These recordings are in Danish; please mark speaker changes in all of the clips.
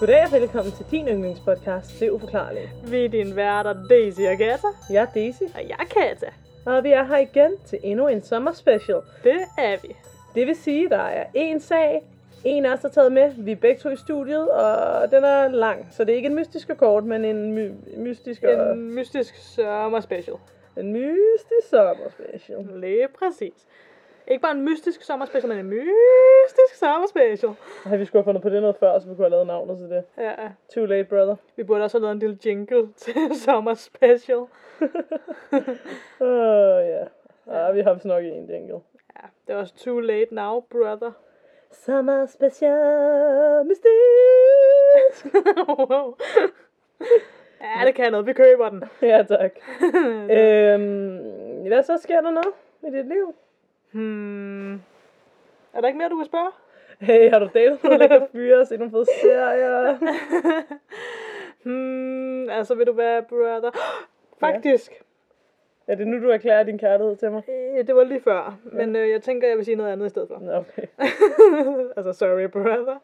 Speaker 1: Goddag og velkommen til din yndlingspodcast, Det Uforklarlige.
Speaker 2: Vi er din værter, Daisy og Gata.
Speaker 1: Jeg er Daisy,
Speaker 2: Og jeg er Kata.
Speaker 1: og vi er her igen til endnu en sommerspecial.
Speaker 2: Det er vi.
Speaker 1: Det vil sige, der er én sag, en af os er taget med, vi er begge to i studiet, og den er lang. Så det er ikke en mystisk og kort, men en my- mystisk og...
Speaker 2: En mystisk sommer special.
Speaker 1: En mystisk sommerspecial.
Speaker 2: Lige præcis. Ikke bare en mystisk sommer special, men en mystisk sommer special.
Speaker 1: Har vi skulle have fundet på det noget før, så vi kunne have lavet navnet til det.
Speaker 2: Ja, ja.
Speaker 1: Too late, brother.
Speaker 2: vi burde også have lavet en lille jingle til sommer special.
Speaker 1: Åh, oh, ja. Ah, vi har vist nok en jingle.
Speaker 2: Ja, det er også too late now, brother.
Speaker 1: Sommer special mystisk.
Speaker 2: wow. Ja, det kan noget. Vi køber den. Øh,
Speaker 1: ja, tak. øhm, hvad så sker der noget i dit liv?
Speaker 2: hmm. Er der ikke mere, du vil spørge?
Speaker 1: Hey, har du datet nogle lækre fyre og set nogle fede serier?
Speaker 2: hmm, altså vil du være brother? Faktisk.
Speaker 1: er det nu, du erklærer din kærlighed til mig?
Speaker 2: Øh, det var lige før, men øh, jeg tænker, jeg vil sige noget andet i stedet for.
Speaker 1: Nå, okay.
Speaker 2: altså, sorry brother.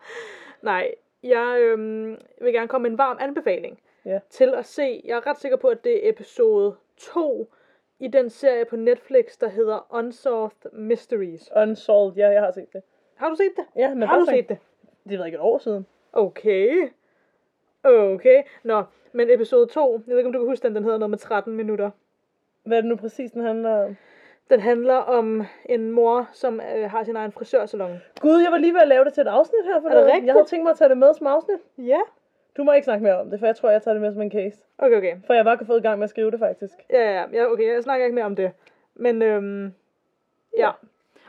Speaker 2: Nej, jeg øhm, vil gerne komme med en varm anbefaling
Speaker 1: Ja.
Speaker 2: til at se. Jeg er ret sikker på, at det er episode 2 i den serie på Netflix, der hedder Unsolved Mysteries.
Speaker 1: Unsolved, ja, jeg har set det.
Speaker 2: Har du set det?
Speaker 1: Ja, men
Speaker 2: Har du
Speaker 1: hvorfor
Speaker 2: set
Speaker 1: ikke?
Speaker 2: det?
Speaker 1: Det er vel ikke et år siden.
Speaker 2: Okay. Okay. Nå, men episode 2, jeg ved ikke, om du kan huske den, den hedder noget med 13 minutter.
Speaker 1: Hvad er det nu præcis, den handler om?
Speaker 2: Den handler om en mor, som øh, har sin egen frisørsalon.
Speaker 1: Gud, jeg var lige ved at lave det til et afsnit her for
Speaker 2: Er det
Speaker 1: Jeg
Speaker 2: rigtigt?
Speaker 1: havde tænkt mig at tage det med som afsnit.
Speaker 2: Ja.
Speaker 1: Du må ikke snakke mere om det, for jeg tror, jeg tager det med som en case.
Speaker 2: Okay, okay.
Speaker 1: For jeg var gået i gang med at skrive det, faktisk.
Speaker 2: Ja, ja, ja, okay, jeg snakker ikke mere om det. Men, øhm, ja.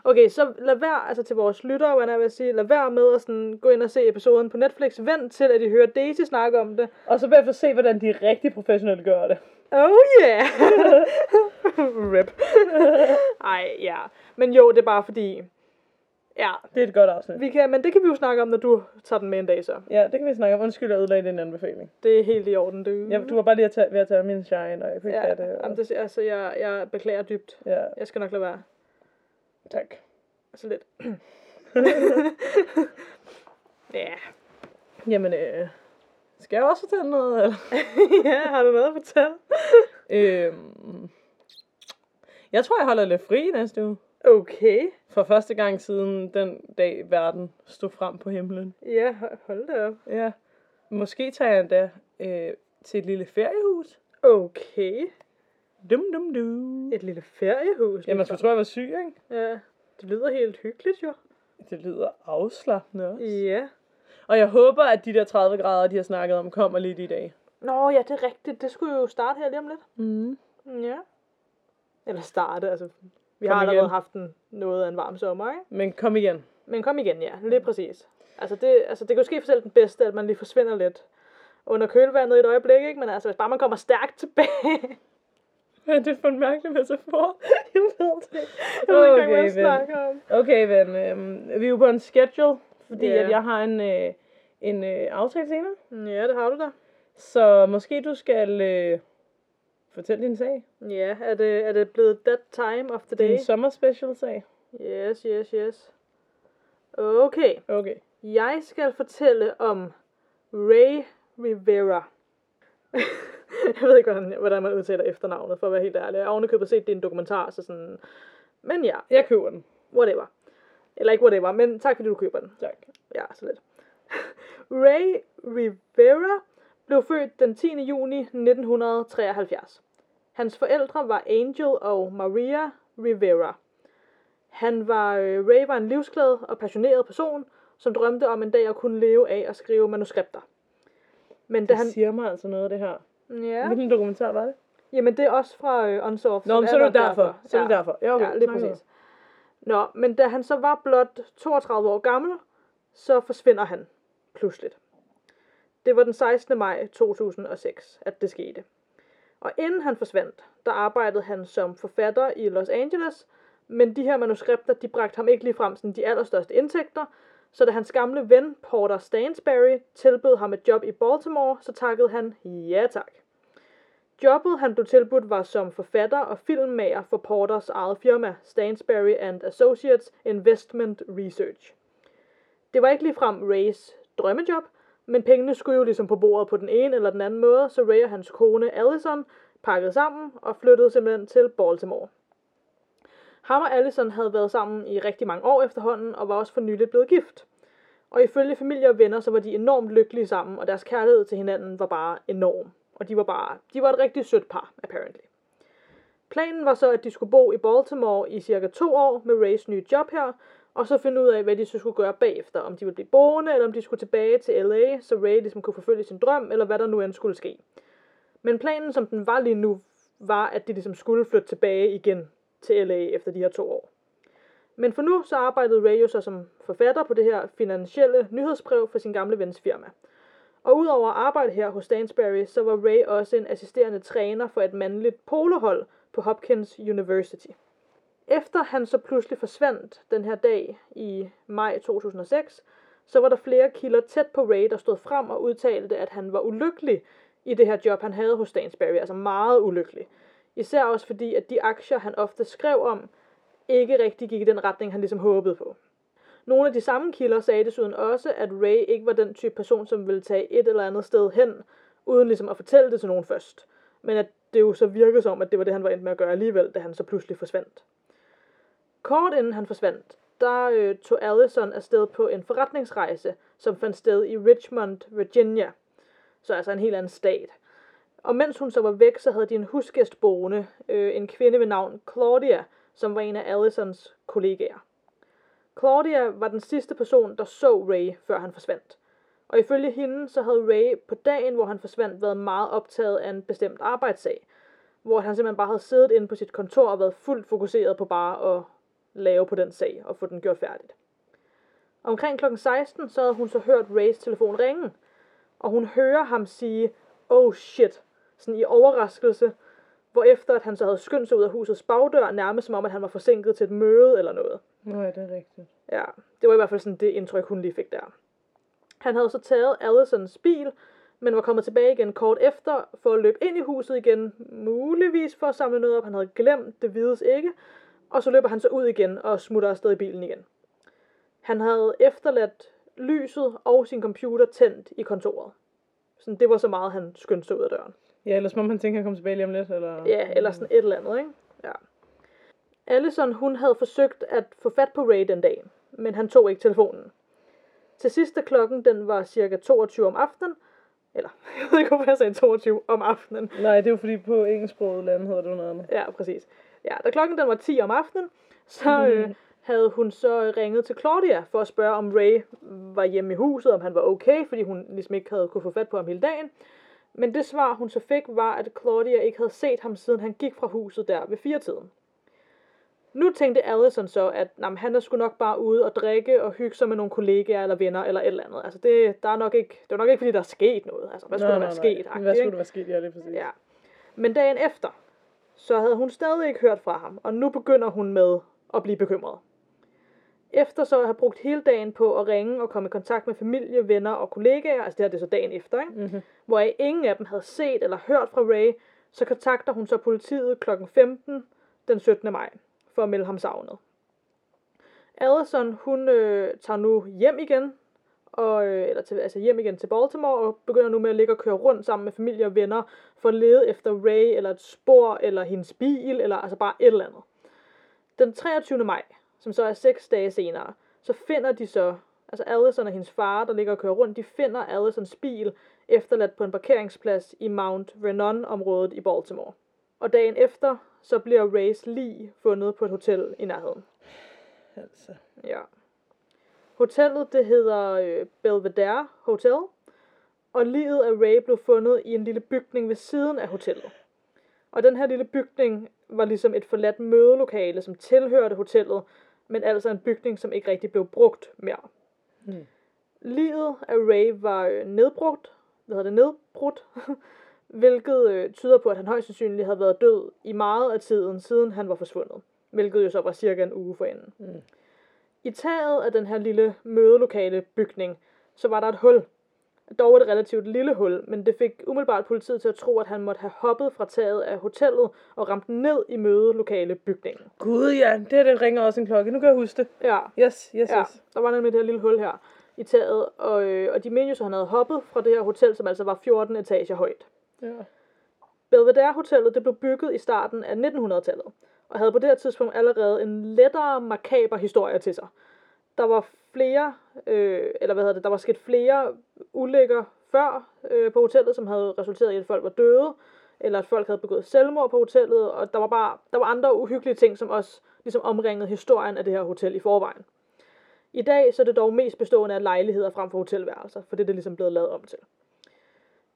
Speaker 2: Okay, så lad være, altså til vores lyttere, hvad jeg vil sige, lad være med at sådan, gå ind og se episoden på Netflix. Vent til, at I hører Daisy snakke om det.
Speaker 1: Og så bagefter se, hvordan de rigtig professionelle gør det.
Speaker 2: Oh yeah! Rip. Ej, ja. Men jo, det er bare fordi, ja,
Speaker 1: Det er et godt afsnit.
Speaker 2: vi kan, men det kan vi jo snakke om, når du tager den med en dag så.
Speaker 1: Ja, det kan vi snakke om. Undskyld, jeg ødelagde din anbefaling.
Speaker 2: Det er helt i orden, du.
Speaker 1: Jeg, du var bare lige at tage, ved at tage min shine, og jeg kunne ikke
Speaker 2: ja,
Speaker 1: ja, det. Og,
Speaker 2: jamen, det, altså, jeg, jeg beklager dybt.
Speaker 1: ja,
Speaker 2: Jeg skal nok lade være.
Speaker 1: tak.
Speaker 2: Altså lidt. ja.
Speaker 1: Jamen, øh, skal jeg også fortælle noget? Eller?
Speaker 2: ja, har du noget at fortælle?
Speaker 1: Øhm, jeg tror, jeg holder lidt fri næste uge.
Speaker 2: Okay.
Speaker 1: For første gang siden den dag, verden stod frem på himlen.
Speaker 2: Ja, ho- hold da op.
Speaker 1: Ja. Måske tager jeg endda øh, til et lille feriehus.
Speaker 2: Okay.
Speaker 1: Dum, dum, dum.
Speaker 2: Et lille feriehus.
Speaker 1: Ja, man skulle
Speaker 2: ligefrem.
Speaker 1: tro, jeg var syg, ikke?
Speaker 2: ja. Det lyder helt hyggeligt, jo.
Speaker 1: Det lyder afslappende også.
Speaker 2: Ja.
Speaker 1: Og jeg håber, at de der 30 grader, de har snakket om, kommer lidt i dag.
Speaker 2: Nå, ja, det er rigtigt. Det skulle jo starte her lige om lidt.
Speaker 1: Mm.
Speaker 2: Ja. Eller starte, altså. Vi
Speaker 1: Kom
Speaker 2: har allerede
Speaker 1: igen.
Speaker 2: haft en, noget af en varm sommer, ikke?
Speaker 1: Men kom igen.
Speaker 2: Men kom igen, ja. Lige præcis. Altså, det, altså, det kan jo ske for selv den bedste, at man lige forsvinder lidt under kølvandet i et øjeblik, ikke? Men altså, hvis bare man kommer stærkt tilbage,
Speaker 1: Hvad er det for en mærkelig metafor?
Speaker 2: Jeg ved det. Jeg ved ikke engang, hvad jeg
Speaker 1: Okay, ven.
Speaker 2: snakker om.
Speaker 1: Okay, ven. Øhm, vi er jo på en schedule, fordi
Speaker 2: Ja.
Speaker 1: yeah. at jeg har en, øh, en øh, aftale senere.
Speaker 2: Ja, det har du da.
Speaker 1: Så måske du skal øh, fortælle din sag.
Speaker 2: Ja, er det, er det blevet that time of the day?
Speaker 1: Din sommerspecial sag.
Speaker 2: Yes, yes, yes. Okay,
Speaker 1: Okay.
Speaker 2: jeg skal fortælle om Ray Rivera. jeg ved ikke, hvordan, hvordan man udtaler efternavnet, for at være helt ærlig. Jeg har ovenikøbet set det i en dokumentar, så sådan... Men ja,
Speaker 1: Jeg køber den.
Speaker 2: whatever. Eller ikke whatever, men tak fordi du køber den.
Speaker 1: Tak.
Speaker 2: Ja, så lidt. Ray Rivera blev født den 10. juni 1973. Hans forældre var Angel og Maria Rivera. Han var, øh, Ray var en livsglad og passioneret person, som drømte om en dag at kunne leve af at skrive manuskripter. Men da
Speaker 1: Det
Speaker 2: han...
Speaker 1: siger mig altså noget, det her.
Speaker 2: Ja.
Speaker 1: Ja. Hvilken dokumentar var det?
Speaker 2: Jamen, det er også fra øh, Unsolved.
Speaker 1: Nå, men så er det
Speaker 2: nok
Speaker 1: jo derfor. Så er det derfor. Ja, okay.
Speaker 2: Ja, lige
Speaker 1: Snak med
Speaker 2: præcis. Nå, men da han så var blot 32 år gammel, så forsvinder han pludseligt. Det var den 16. maj 2006, at det skete. Og inden han forsvandt, der arbejdede han som forfatter i Los Angeles, men de her manuskripter, de bragte ham ikke ligefrem sådan de allerstørste indtægter, så da hans gamle ven Porter Stansberry tilbød ham et job i Baltimore, så takkede han ja tak. Jobbet, han blev tilbudt, var som forfatter og filmmager for Porters eget firma, Stansberry and Associates Investment Research. Det var ikke ligefrem Rays drømmejob, Men pengene skulle jo ligesom på bordet på den ene eller den anden måde, så Ray og hans kone Allison pakkede sammen og flyttede simpelthen til Baltimore. Ham og Allison havde været sammen i rigtig mange år efterhånden, og var også for nyligt blevet gift. Og ifølge familie og venner, så var de enormt lykkelige sammen, og deres kærlighed til hinanden var bare enorm. Og de var bare, de var et rigtig sødt par, apparently. Planen var så, at de skulle bo i Baltimore i cirka to år med Rays nye job her, og så finde ud af, hvad de så skulle gøre bagefter. Om de ville blive boende, eller om de skulle tilbage til LA, så Ray ligesom kunne forfølge sin drøm, eller hvad der nu end skulle ske. Men planen, som den var lige nu, var, at de ligesom skulle flytte tilbage igen til LA efter de her to år. Men for nu så arbejdede Ray jo så som forfatter på det her finansielle nyhedsbrev for sin gamle vens firma. Og udover at arbejde her hos Stansberry, så var Ray også en assisterende træner for et mandligt polohold på Hopkins University. Efter han så pludselig forsvandt den her dag i maj 2006, så var der flere kilder tæt på Ray, der stod frem og udtalte, at han var ulykkelig i det her job, han havde hos Stansberry, altså meget ulykkelig. Især også fordi, at de aktier, han ofte skrev om, ikke rigtig gik i den retning, han ligesom håbede på. Nogle af de samme kilder sagde desuden også, at Ray ikke var den type person, som ville tage et eller andet sted hen, uden ligesom at fortælle det til nogen først. Men at det jo så virkede som, at det var det, han var endt med at gøre alligevel, da han så pludselig forsvandt. Kort inden han forsvandt, der øh, tog Allison afsted på en forretningsrejse, som fandt sted i Richmond, Virginia. Så altså en helt anden stat. Og mens hun så var væk, så havde de en husgæst boende, øh, en kvinde ved navn Claudia, som var en af Allisons kollegaer. Claudia var den sidste person, der så Ray, før han forsvandt. Og ifølge hende, så havde Ray på dagen, hvor han forsvandt, været meget optaget af en bestemt arbejdssag, hvor han simpelthen bare havde siddet inde på sit kontor og været fuldt fokuseret på bare at lave på den sag og få den gjort færdigt. Omkring kl. 16, så havde hun så hørt Rays telefon ringe, og hun hører ham sige, oh shit, sådan i overraskelse, hvor efter at han så havde skyndt sig ud af husets bagdør, nærmest som om, at han var forsinket til et møde eller noget.
Speaker 1: Nej, det er rigtigt.
Speaker 2: Ja, det var i hvert fald sådan det indtryk, hun lige fik der. Han havde så taget Allisons bil, men var kommet tilbage igen kort efter for at løbe ind i huset igen, muligvis for at samle noget op, han havde glemt, det vides ikke, og så løber han så ud igen og smutter afsted i bilen igen. Han havde efterladt lyset og sin computer tændt i kontoret. Så det var så meget, han skyndte sig ud af døren.
Speaker 1: Ja, ellers må man tænke, at han kommer tilbage lige om lidt, eller...
Speaker 2: Ja, eller sådan et eller andet, ikke? Ja. Allison, hun havde forsøgt at få fat på Ray den dag, men han tog ikke telefonen. Til sidste klokken, den var cirka 22 om aftenen, eller jeg ved ikke, hvorfor jeg sagde 22 om aftenen.
Speaker 1: Nej, det er jo fordi på engelsksproget lande hedder det jo noget andet.
Speaker 2: Ja, præcis. Ja, da klokken den var 10 om aftenen,
Speaker 1: Mhm.
Speaker 2: så øh, havde hun så ringet til Claudia for at spørge, om Ray var hjemme i huset, om han var okay, fordi hun ligesom ikke havde kunne få fat på ham hele dagen. Men det svar, hun så fik, var, at Claudia ikke havde set ham, siden han gik fra huset der ved firetiden. Nu tænkte Allison så, at jamen, han er sgu nok bare ude og drikke og hygge sig med nogle kollegaer eller venner eller et eller andet. Altså det, der er nok ikke, det var nok ikke, fordi der er sket noget. Altså, hvad skulle der være sket?
Speaker 1: Nej. Hvad
Speaker 2: agtigt,
Speaker 1: skulle der
Speaker 2: ikke?
Speaker 1: være sket? Ja, lige præcis.
Speaker 2: Ja. Men dagen efter, så havde hun stadig ikke hørt fra ham, og nu begynder hun med at blive bekymret. Efter så at have brugt hele dagen på at ringe og komme i kontakt med familie, venner og kollegaer, altså det her det er så dagen efter, ikke?
Speaker 1: Mhm.
Speaker 2: hvor ingen af dem havde set eller hørt fra Ray, så kontakter hun så politiet kl. 15 den 17. maj for at melde ham savnet. Allison, hun øh, tager nu hjem igen, og, øh, eller til, altså hjem igen til Baltimore, og begynder nu med at ligge og køre rundt sammen med familie og venner, for at lede efter Ray, eller et spor, eller hendes bil, eller altså bare et eller andet. Den 23. maj, som så er seks dage senere, så finder de så, altså Allison og hendes far, der ligger og kører rundt, de finder Allisons bil efterladt på en parkeringsplads i Mount Vernon-området i Baltimore. Og dagen efter, så bliver Rays lig fundet på et hotel i nærheden.
Speaker 1: Altså.
Speaker 2: Ja. Hotellet, det hedder øh, Belvedere Hotel, og livet af Ray blev fundet i en lille bygning ved siden af hotellet. Og den her lille bygning var ligesom et forladt mødelokale, som tilhørte hotellet, men altså en bygning, som ikke rigtig blev brugt mere.
Speaker 1: Hmm.
Speaker 2: Livet af Ray var øh, nedbrudt, hvad hedder det, nedbrudt, hvilket øh, tyder på, at han højst sandsynligt havde været død i meget af tiden, siden han var forsvundet. Hvilket jo så var cirka en uge forinden.
Speaker 1: Mm.
Speaker 2: I taget af den her lille mødelokale bygning, så var der et hul. Dog et relativt lille hul, men det fik umiddelbart politiet til at tro, at han måtte have hoppet fra taget af hotellet og ramt ned i mødelokale bygningen.
Speaker 1: Gud ja, det her det ringer også en klokke. Nu kan jeg huske det.
Speaker 2: Ja,
Speaker 1: Yes, yes,
Speaker 2: ja,
Speaker 1: yes.
Speaker 2: der var nemlig det her lille hul her. i taget, og, øh, og de Minions, han havde hoppet fra det her hotel, som altså var 14 etager højt.
Speaker 1: Ja.
Speaker 2: Belvedere-hotellet det blev bygget i starten af 1900-tallet, og havde på det her tidspunkt allerede en lettere makaber historie til sig. Der var flere, øh, eller hvad hedder det, der var sket flere ulykker før øh, på hotellet, som havde resulteret i, at folk var døde, eller at folk havde begået selvmord på hotellet, og der var bare der var andre uhyggelige ting, som også ligesom omringede historien af det her hotel i forvejen. I dag så er det dog mest bestående af lejligheder frem for hotelværelser, for det er det ligesom blevet lavet om til.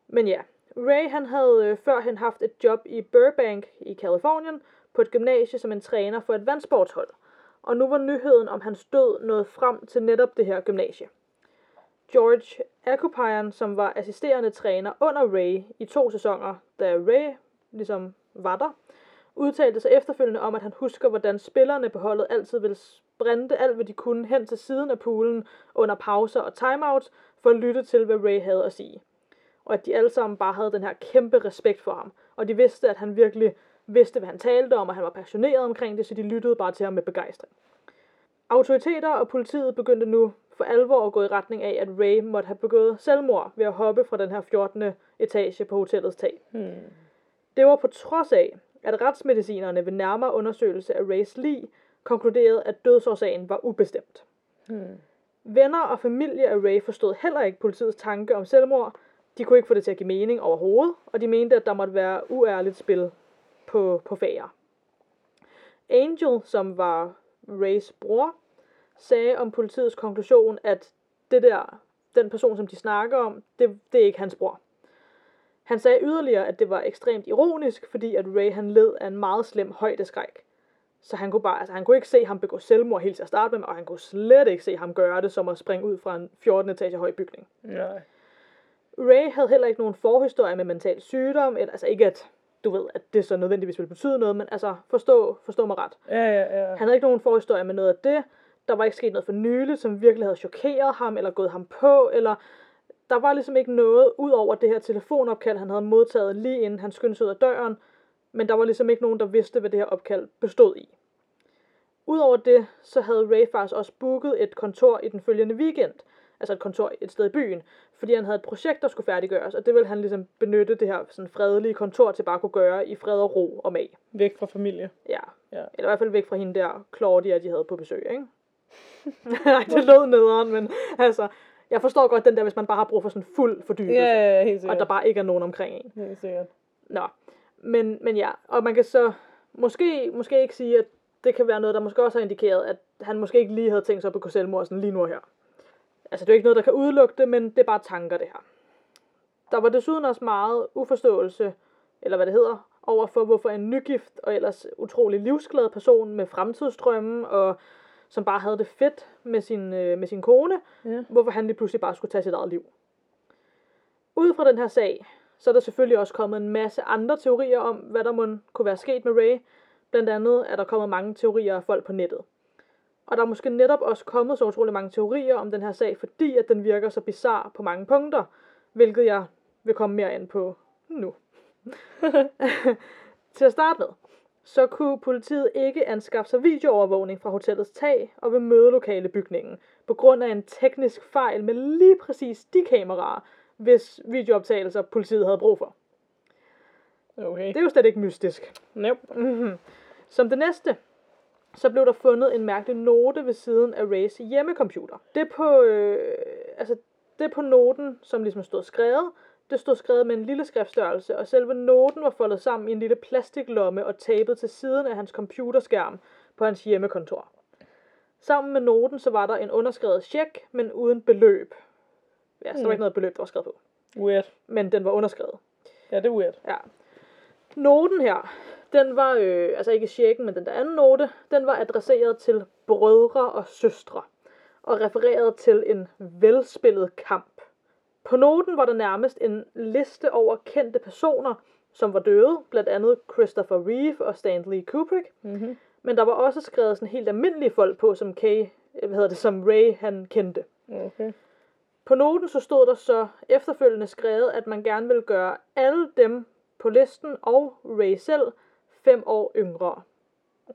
Speaker 2: Men ja, Ray han havde øh, førhen haft et job i Burbank i Kalifornien på et gymnasie som en træner for et vandsportshold. Og nu var nyheden om hans død nået frem til netop det her gymnasie. George Akopayan, som var assisterende træner under Ray i to sæsoner, da Ray ligesom var der, udtalte sig efterfølgende om, at han husker, hvordan spillerne på holdet altid ville sprinte alt, hvad de kunne hen til siden af poolen under pauser og timeouts, for at lytte til, hvad Ray havde at sige og at de alle sammen bare havde den her kæmpe respekt for ham. Og de vidste, at han virkelig vidste, hvad han talte om, og han var passioneret omkring det, så de lyttede bare til ham med begejstring. Autoriteter og politiet begyndte nu for alvor at gå i retning af, at Ray måtte have begået selvmord ved at hoppe fra den her 14. etage på hotellets tag.
Speaker 1: Hmm.
Speaker 2: Det var på trods af, at retsmedicinerne ved nærmere undersøgelse af Rays lig konkluderede, at dødsårsagen var ubestemt.
Speaker 1: Hmm.
Speaker 2: Venner og familie af Ray forstod heller ikke politiets tanke om selvmord. De kunne ikke få det til at give mening overhovedet, og de mente, at der måtte være uærligt spil på, på fager. Angel, som var Rays bror, sagde om politiets konklusion, at det der, den person, som de snakker om, det, det er ikke hans bror. Han sagde yderligere, at det var ekstremt ironisk, fordi at Ray han led af en meget slem højdeskræk. Så han kunne, bare, altså, han kunne ikke se ham begå selvmord helt til at starte med, og han kunne slet ikke se ham gøre det, som at springe ud fra en 14 etage høj bygning.
Speaker 1: Nej.
Speaker 2: Ray havde heller ikke nogen forhistorie med mental sygdom, eller, altså ikke at, du ved, at det så nødvendigvis ville betyde noget, men altså, forstå, forstå mig ret.
Speaker 1: Ja, ja, ja.
Speaker 2: Han havde ikke nogen forhistorie med noget af det. Der var ikke sket noget for nylig, som virkelig havde chokeret ham, eller gået ham på, eller der var ligesom ikke noget ud over det her telefonopkald, han havde modtaget lige inden han skyndte sig ud af døren, men der var ligesom ikke nogen, der vidste, hvad det her opkald bestod i. Udover det, så havde Ray faktisk også booket et kontor i den følgende weekend, altså et kontor et sted i byen, fordi han havde et projekt, der skulle færdiggøres, og det ville han ligesom benytte det her sådan fredelige kontor til bare at kunne gøre i fred og ro og mag.
Speaker 1: Væk fra familie.
Speaker 2: Ja,
Speaker 1: Ja.
Speaker 2: eller i hvert fald væk fra hende der Claudia, de havde på besøg, ikke? Nej, det lød nederen, men altså, jeg forstår godt den der, hvis man bare har brug for sådan fuld fordybelse,
Speaker 1: Ja, ja, ja, helt
Speaker 2: og
Speaker 1: sikkert.
Speaker 2: der bare ikke er nogen omkring en.
Speaker 1: Helt sikkert.
Speaker 2: Nå, men, men ja, og man kan så måske, måske ikke sige, at det kan være noget, der måske også har indikeret, at han måske ikke lige havde tænkt sig at begå selvmord sådan lige nu og her. Altså, det er jo ikke noget, der kan udelukke det, men det er bare tanker, det her. Der var desuden også meget uforståelse, eller hvad det hedder, over for, hvorfor en nygift og ellers utrolig livsglad person med fremtidsdrømme, og som bare havde det fedt med sin, øh, med sin kone,
Speaker 1: Ja.
Speaker 2: hvorfor han lige pludselig bare skulle tage sit eget liv. Ud fra den her sag, så er der selvfølgelig også kommet en masse andre teorier om, hvad der må kunne være sket med Ray. Blandt andet er der kommet mange teorier af folk på nettet. Og der er måske netop også kommet så utrolig mange teorier om den her sag, fordi at den virker så bizarre på mange punkter, hvilket jeg vil komme mere ind på nu. Til at starte med, så kunne politiet ikke anskaffe sig videoovervågning fra hotellets tag og ved mødelokale bygningen, på grund af en teknisk fejl med lige præcis de kameraer, hvis videooptagelser politiet havde brug for.
Speaker 1: Okay.
Speaker 2: Det er jo slet ikke mystisk.
Speaker 1: Nope.
Speaker 2: Mm-hmm. Som det næste, så blev der fundet en mærkelig note ved siden af Rays hjemmecomputer. Det på, øh, altså, det på noten, som ligesom stod skrevet, det stod skrevet med en lille skriftstørrelse, og selve noten var foldet sammen i en lille plastiklomme og tabet til siden af hans computerskærm på hans hjemmekontor. Sammen med noten, så var der en underskrevet check, men uden beløb. Ja, så der var
Speaker 1: Mm.
Speaker 2: ikke noget beløb, der var skrevet på.
Speaker 1: Weird.
Speaker 2: Men den var underskrevet.
Speaker 1: Ja, det er weird.
Speaker 2: Ja. Noten her, den var, øh, altså ikke checken, men den der anden note, den var adresseret til brødre og søstre, og refereret til en velspillet kamp. På noten var der nærmest en liste over kendte personer, som var døde, blandt andet Christopher Reeve og Stanley Kubrick,
Speaker 1: Mm-hmm.
Speaker 2: men der var også skrevet sådan helt almindelige folk på, som Kay, hvad hedder det, som Ray han kendte.
Speaker 1: Okay.
Speaker 2: På noten så stod der så efterfølgende skrevet, at man gerne ville gøre alle dem på listen og Ray selv fem år yngre.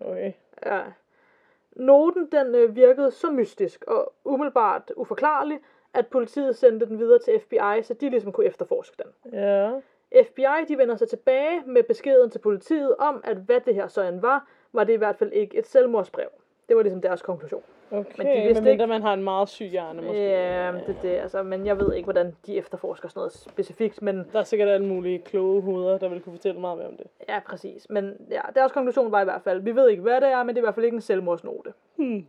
Speaker 1: Okay.
Speaker 2: Ja. Noten den øh, virkede så mystisk og umiddelbart uforklarlig, at politiet sendte den videre til FBI, så de ligesom kunne efterforske den.
Speaker 1: Ja.
Speaker 2: FBI de vender sig tilbage med beskeden til politiet om, at hvad det her så end var, var det i hvert fald ikke et selvmordsbrev. Det var ligesom deres konklusion.
Speaker 1: Okay,
Speaker 2: Men
Speaker 1: men
Speaker 2: de vidste
Speaker 1: de mindre man har en meget syg hjerne måske.
Speaker 2: Ja, det er det, altså, men jeg ved ikke, hvordan de efterforsker sådan noget specifikt, men
Speaker 1: Der er sikkert alle mulige kloge hoveder, der vil kunne fortælle meget mere om det.
Speaker 2: ja, præcis. Men ja, deres konklusion var i hvert fald, vi ved ikke, hvad det er, men det er i hvert fald ikke en selvmordsnote.
Speaker 1: Hmm.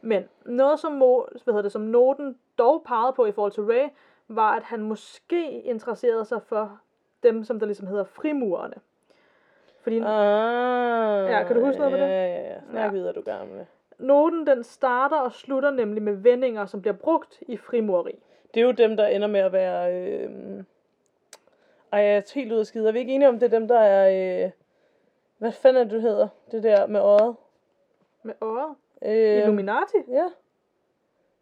Speaker 2: Men noget, som, må, hvad hedder det, som noten dog pegede på i forhold til Ray, var, at han måske interesserede sig for dem, som der ligesom hedder frimurerne. Fordi
Speaker 1: Ah,
Speaker 2: Ja, kan du huske noget
Speaker 1: ja,
Speaker 2: med det?
Speaker 1: Ja, ja, ja. Snak
Speaker 2: Ja.
Speaker 1: ja. videre, du gamle.
Speaker 2: noten den starter og slutter nemlig med vendinger, som bliver brugt i frimureri.
Speaker 1: Det er jo dem, der ender med at være... Øh... Ej, jeg er helt ude af skide. Er vi ikke enige om, det er dem, der er... Øh... Hvad fanden er det, du hedder? Det der med øjet?
Speaker 2: Med øjet.
Speaker 1: Øh...
Speaker 2: Illuminati?
Speaker 1: Ja.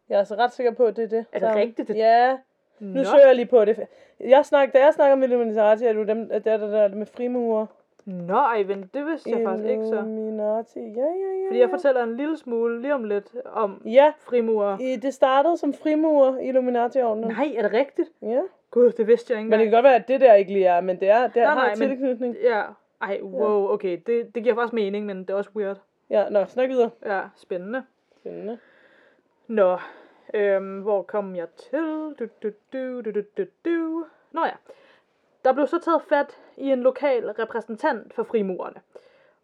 Speaker 1: Jeg er altså ret sikker på, at det er det.
Speaker 2: det
Speaker 1: Sammen.
Speaker 2: rigtigt? Det-
Speaker 1: Ja. Nu
Speaker 2: Nå.
Speaker 1: Nå. søger jeg lige på det. Jeg snak, da jeg snakker med Illuminati, er det jo dem, at der, der, der, der med frimurer.
Speaker 2: Nå, ej, men det vidste jeg faktisk ikke
Speaker 1: Øhm,
Speaker 2: så.
Speaker 1: Illuminati. Ja, ja, ja.
Speaker 2: Fordi jeg
Speaker 1: ja.
Speaker 2: fortæller en lille smule lige om lidt om
Speaker 1: Ja,
Speaker 2: frimurer.
Speaker 1: i- det startede som frimurer i illuminati ordenen
Speaker 2: Nej, er det rigtigt?
Speaker 1: Ja.
Speaker 2: Gud, det vidste jeg ikke
Speaker 1: Men det
Speaker 2: engang.
Speaker 1: kan godt være, at det der ikke lige er, men det er, det
Speaker 2: Nej,
Speaker 1: nej, har
Speaker 2: nej,
Speaker 1: nej,
Speaker 2: men-
Speaker 1: tilknytning.
Speaker 2: Ja, ej, wow, okay. Det, det giver faktisk mening, men det er også weird.
Speaker 1: Ja, nå, snak videre.
Speaker 2: Ja, spændende.
Speaker 1: Spændende.
Speaker 2: Nå, øhm, hvor kom jeg til? Du, du, du, du, du, du, du. Nå ja, der blev så taget fat i en lokal repræsentant for frimurerne.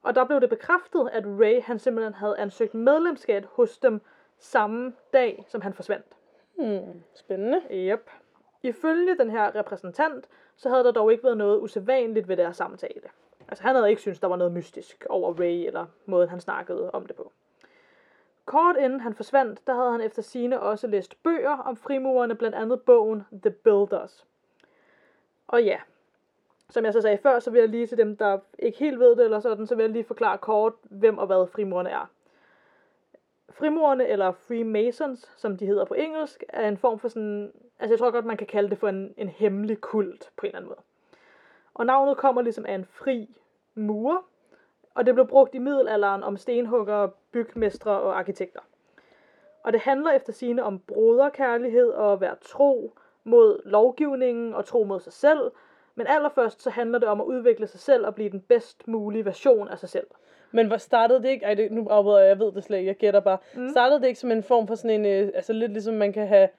Speaker 2: Og der blev det bekræftet, at Ray han simpelthen havde ansøgt medlemskab hos dem samme dag, som han forsvandt.
Speaker 1: Hmm. Spændende.
Speaker 2: Yep. Ifølge den her repræsentant, så havde der dog ikke været noget usædvanligt ved deres samtale. Altså han havde ikke syntes, der var noget mystisk over Ray eller måden, han snakkede om det på. Kort inden han forsvandt, der havde han efter sine også læst bøger om frimurerne, blandt andet bogen The Builders. Og ja, som jeg så sagde før, så vil jeg lige til dem, der ikke helt ved det eller sådan, så vil jeg lige forklare kort, hvem og hvad frimurerne er. Frimurerne, eller Freemasons, som de hedder på engelsk, er en form for sådan... Altså, jeg tror godt, man kan kalde det for en, en hemmelig kult, på en eller anden måde. Og navnet kommer ligesom af en fri mur, og det blev brugt i middelalderen om stenhuggere, bygmestre og arkitekter. Og det handler efter sine om broderkærlighed og at være tro mod lovgivningen og tro mod sig selv, men allerførst så handler det om at udvikle sig selv og blive den bedst mulige version af sig selv.
Speaker 1: Men hvor startede det ikke? Ej, det, nu afbryder jeg, jeg ved det slet ikke, jeg gætter bare. Mm. Startede det ikke som en form for sådan en, øh, altså lidt ligesom man kan have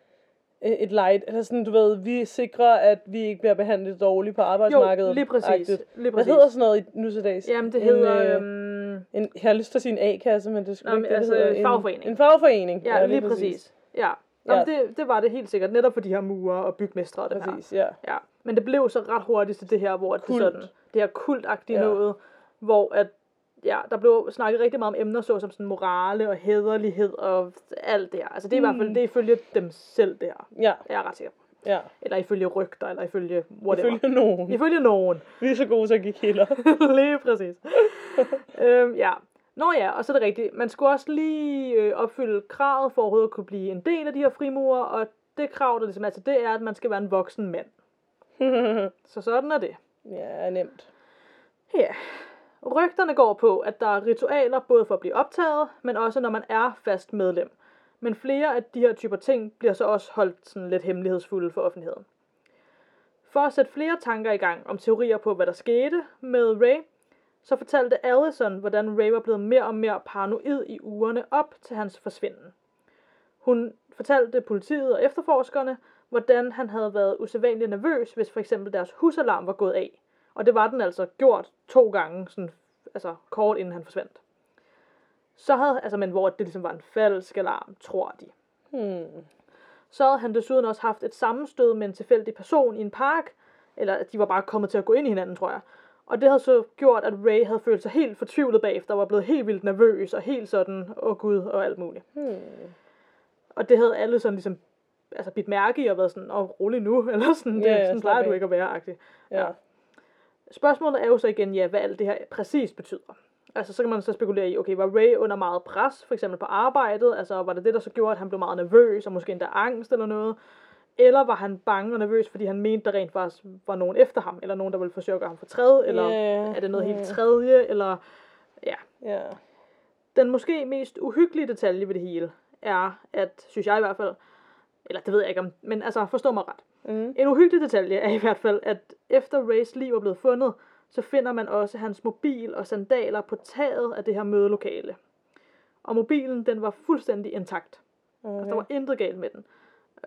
Speaker 1: øh, et light, eller sådan, du ved, vi sikrer, at vi ikke bliver behandlet dårligt på arbejdsmarkedet.
Speaker 2: lige præcis,
Speaker 1: agtigt.
Speaker 2: lige
Speaker 1: Hvad
Speaker 2: præcis.
Speaker 1: hedder sådan noget i- nu til dags?
Speaker 2: Jamen, det
Speaker 1: En,
Speaker 2: hedder...
Speaker 1: øh,
Speaker 2: øhm,
Speaker 1: en, jeg har lyst til at sige en A-kasse, men det
Speaker 2: Nå,
Speaker 1: skulle ikke
Speaker 2: men
Speaker 1: det, det,
Speaker 2: altså,
Speaker 1: hedder. En-
Speaker 2: fagforening.
Speaker 1: En fagforening.
Speaker 2: Ja, lige præcis. præcis. Ja, Nå,
Speaker 1: Ja.
Speaker 2: men Det, det var det helt sikkert, netop for de her murer og bygmestre og det her.
Speaker 1: Præcis, ja.
Speaker 2: Ja. Men det blev så ret hurtigt til det her, hvor det,
Speaker 1: Kult.
Speaker 2: sådan, det her kultagtige ja.
Speaker 1: Ja.
Speaker 2: noget, hvor at, ja, der blev snakket rigtig meget om emner, såsom sådan morale og hederlighed og alt det her. Altså det er i hvert fald, det er ifølge dem selv det her.
Speaker 1: Ja,
Speaker 2: Jeg er ret sikker. på.
Speaker 1: ja.
Speaker 2: Eller ifølge rygter, eller ifølge whatever. Ifølge,
Speaker 1: Ifølge nogen.
Speaker 2: ifølge nogen.
Speaker 1: Vi er så gode, så gik kilder.
Speaker 2: lige præcis. øhm, ja. Nå ja, og så er det rigtigt. Man skulle også lige øh, opfylde kravet for overhovedet at kunne blive en del af de her frimurer, og det krav, der ligesom er til det, er, at man skal være en voksen mand. Så sådan er det.
Speaker 1: ja, nemt.
Speaker 2: Ja. Rygterne går på, at der er ritualer både for at blive optaget, men også når man er fast medlem. Men flere af de her typer ting bliver så også holdt sådan lidt hemmelighedsfulde for offentligheden. For at sætte flere tanker i gang om teorier på, hvad der skete med Ray, så fortalte Allison, hvordan Ray var blevet mere og mere paranoid i ugerne op til hans forsvinden. Hun fortalte politiet og efterforskerne, hvordan han havde været usædvanligt nervøs, hvis for eksempel deres husalarm var gået af. Og det var den altså gjort to gange, sådan, altså kort inden han forsvandt. Så havde, altså, men hvor det ligesom var en falsk alarm, tror de.
Speaker 1: Hmm.
Speaker 2: Så havde han desuden også haft et sammenstød med en tilfældig person i en park, eller at de var bare kommet til at gå ind i hinanden, tror jeg. Og det havde så gjort, at Ray havde følt sig helt fortvivlet bagefter, og var blevet helt vildt nervøs, og helt sådan, åh gud, og alt muligt.
Speaker 1: Hmm.
Speaker 2: Og det havde alle sådan ligesom, altså bidt mærke i, og været sådan, åh, rolig nu, eller sådan, det,
Speaker 1: Ja, ja,
Speaker 2: sådan
Speaker 1: slap
Speaker 2: plejer du
Speaker 1: af.
Speaker 2: ikke at være, agtig.
Speaker 1: Ja.
Speaker 2: Ja. Spørgsmålet er jo så igen, ja, hvad alt det her præcis betyder. Altså, så kan man så spekulere i, okay, var Ray under meget pres, for eksempel på arbejdet? Altså, var det det, der så gjorde, at han blev meget nervøs, og måske endda angst eller noget? Eller var han bange og nervøs, fordi han mente, der rent faktisk var nogen efter ham, eller nogen, der ville forsøge at gøre ham fortræd, eller
Speaker 1: Ja,
Speaker 2: er det noget helt
Speaker 1: ja.
Speaker 2: tredje, eller... Ja,
Speaker 1: Ja.
Speaker 2: den måske mest uhyggelige detalje ved det hele er, at, synes jeg i hvert fald, Eller det ved jeg ikke om, men altså forstå mig ret.
Speaker 1: Mm.
Speaker 2: En uhyggelig detalje er i hvert fald, at efter Rays liv er blevet fundet, så finder man også hans mobil og sandaler på taget af det her mødelokale. Og mobilen, den var fuldstændig intakt.
Speaker 1: Okay.
Speaker 2: Altså, der var intet galt med den.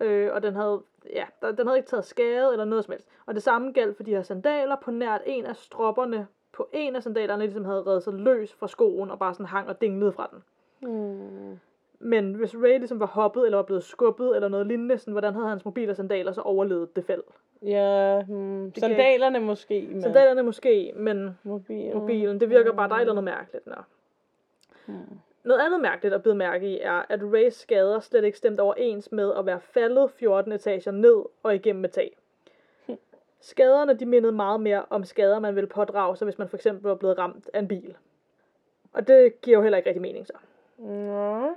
Speaker 2: Øh, og den havde, ja, der, den havde ikke taget skade eller noget som helst. Og det samme galt for de her sandaler. På nært en af stropperne på en af sandalerne ligesom havde reddet sig løs fra skoen og bare sådan hang og dinglede fra den. Hmm.
Speaker 1: Mm.
Speaker 2: Men hvis Ray ligesom var hoppet eller var blevet skubbet eller noget lignende, sådan, hvordan havde hans mobil og sandaler så overlevet det fald?
Speaker 1: Ja, hmm.
Speaker 2: Det
Speaker 1: sandalerne måske, men
Speaker 2: Sandalerne måske, men
Speaker 1: mobilen.
Speaker 2: mobilen, det virker bare, der er et eller andet mærkeligt. Nå.
Speaker 1: Mm.
Speaker 2: Noget andet mærkeligt at blive mærke i er, at Rays skader slet ikke stemte overens med at være faldet 14 etager ned og igennem et tag. Skaderne de mindede meget mere om skader, man ville pådrage sig, hvis man for eksempel var blevet ramt af en bil. Og det giver jo heller ikke rigtig mening så.
Speaker 1: Nå.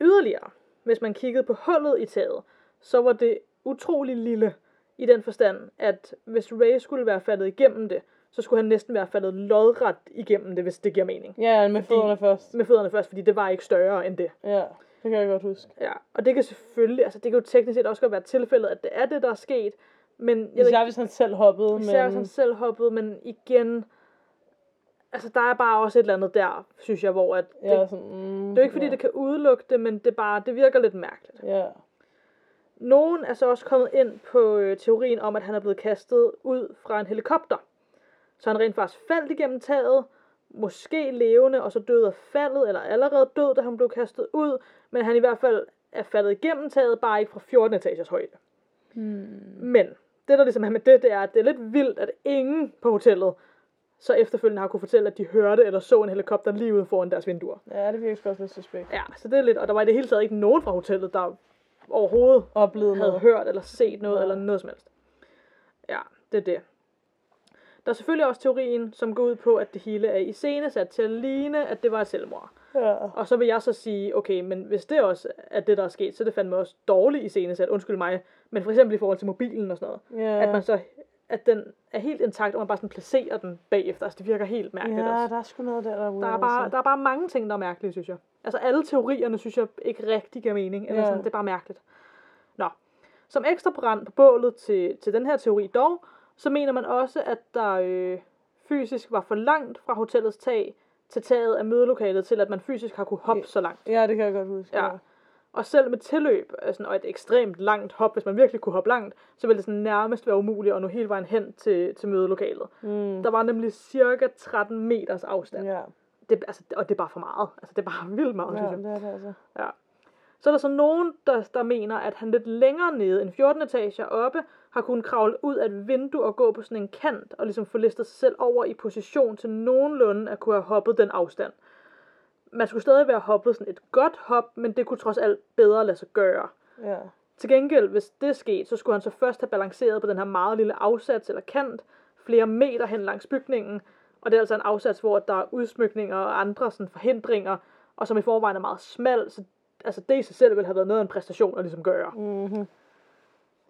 Speaker 2: Yderligere, hvis man kiggede på hullet i taget, så var det utrolig lille i den forstand, at hvis Ray skulle være faldet igennem det, så skulle han næsten være faldet lodret igennem det, hvis det giver mening.
Speaker 1: Ja, med
Speaker 2: Fordi-
Speaker 1: fødderne først.
Speaker 2: Med fødderne først, fordi det var ikke større end det.
Speaker 1: Ja, det kan jeg godt huske.
Speaker 2: Ja, og det kan selvfølgelig, altså det kan jo teknisk set også godt være tilfældet, at det er det, der er sket, men jeg ved
Speaker 1: Især hvis han selv hoppede,
Speaker 2: ikke,
Speaker 1: men...
Speaker 2: især hvis han selv hoppede, men igen, altså der er bare også et eller andet der, synes jeg, hvor at det,
Speaker 1: ja, sådan, mm,
Speaker 2: det er jo ikke fordi,
Speaker 1: ja.
Speaker 2: det kan udelukke det, men det, er bare, det virker lidt mærkeligt.
Speaker 1: Ja.
Speaker 2: Nogen er så også kommet ind på øh, teorien om, at han er blevet kastet ud fra en helikopter. Så han rent faktisk faldt igennem taget, måske levende, og så døde af faldet, eller allerede død, da han blev kastet ud, men han i hvert fald er faldet igennem taget, bare ikke fra 14 etagers højde.
Speaker 1: Hmm.
Speaker 2: Men det, der ligesom er med det, det er, at det er lidt vildt, at ingen på hotellet så efterfølgende har kunne fortælle, at de hørte eller så en helikopter lige ude foran deres vinduer.
Speaker 1: Ja, det virker sgu også lidt suspekt.
Speaker 2: Ja, så det er lidt, og der var i det hele taget ikke nogen fra hotellet, der overhovedet
Speaker 1: Oplevede
Speaker 2: havde
Speaker 1: noget.
Speaker 2: hørt eller set noget,
Speaker 1: Ja.
Speaker 2: eller noget som helst. Ja, det er det. Der er selvfølgelig også teorien, som går ud på, at det hele er iscenesat til at ligne, at det var et selvmord.
Speaker 1: Ja.
Speaker 2: Og så vil jeg så sige, okay, men hvis det også er det, der er sket, så er det fandme også dårligt iscenesat, undskyld mig, men for eksempel i forhold til mobilen og sådan noget,
Speaker 1: Ja.
Speaker 2: ja. at man så, at den er helt intakt, og man bare sådan placerer den bagefter, altså det virker helt mærkeligt
Speaker 1: ja,
Speaker 2: også.
Speaker 1: der er sgu noget der, der er
Speaker 2: Der
Speaker 1: weird,
Speaker 2: er, bare,
Speaker 1: altså.
Speaker 2: der er bare mange ting, der er mærkelige, synes jeg. Altså alle teorierne, synes jeg ikke rigtig giver mening. Eller
Speaker 1: Ja.
Speaker 2: sådan, det er bare mærkeligt. Nå. Som ekstra brand på bålet til, til den her teori dog, så mener man også, at der øh, fysisk var for langt fra hotellets tag til taget af mødelokalet, til at man fysisk har kunne hoppe
Speaker 1: Ja.
Speaker 2: så langt.
Speaker 1: Ja, det kan jeg godt huske.
Speaker 2: Ja. Og selv med tilløb altså, og et ekstremt langt hop, hvis man virkelig kunne hoppe langt, så ville det sådan nærmest være umuligt at nå hele vejen hen til, til mødelokalet.
Speaker 1: Mm.
Speaker 2: Der var nemlig cirka 13 meters afstand
Speaker 1: Ja,
Speaker 2: det, altså, og det er bare for meget. Altså, det er bare vildt meget, ja.
Speaker 1: ja,
Speaker 2: synes jeg.
Speaker 1: det er det altså.
Speaker 2: Ja. Så er der så nogen, der, der mener, at han lidt længere nede end 14 etager oppe, har kunnet kravle ud af et vindue og gå på sådan en kant, og ligesom få listet sig selv over i position til nogenlunde at kunne have hoppet den afstand. Man skulle stadig være hoppet sådan et godt hop, men det kunne trods alt bedre lade sig gøre.
Speaker 1: Ja.
Speaker 2: Til gengæld, hvis det skete, så skulle han så først have balanceret på den her meget lille afsats eller kant, flere meter hen langs bygningen, og det er altså en afsats, hvor der er udsmykninger og andre sådan forhindringer, og som i forvejen er meget smal, så altså det i sig selv ville have været noget af en præstation at ligesom gøre.
Speaker 1: Mm-hmm.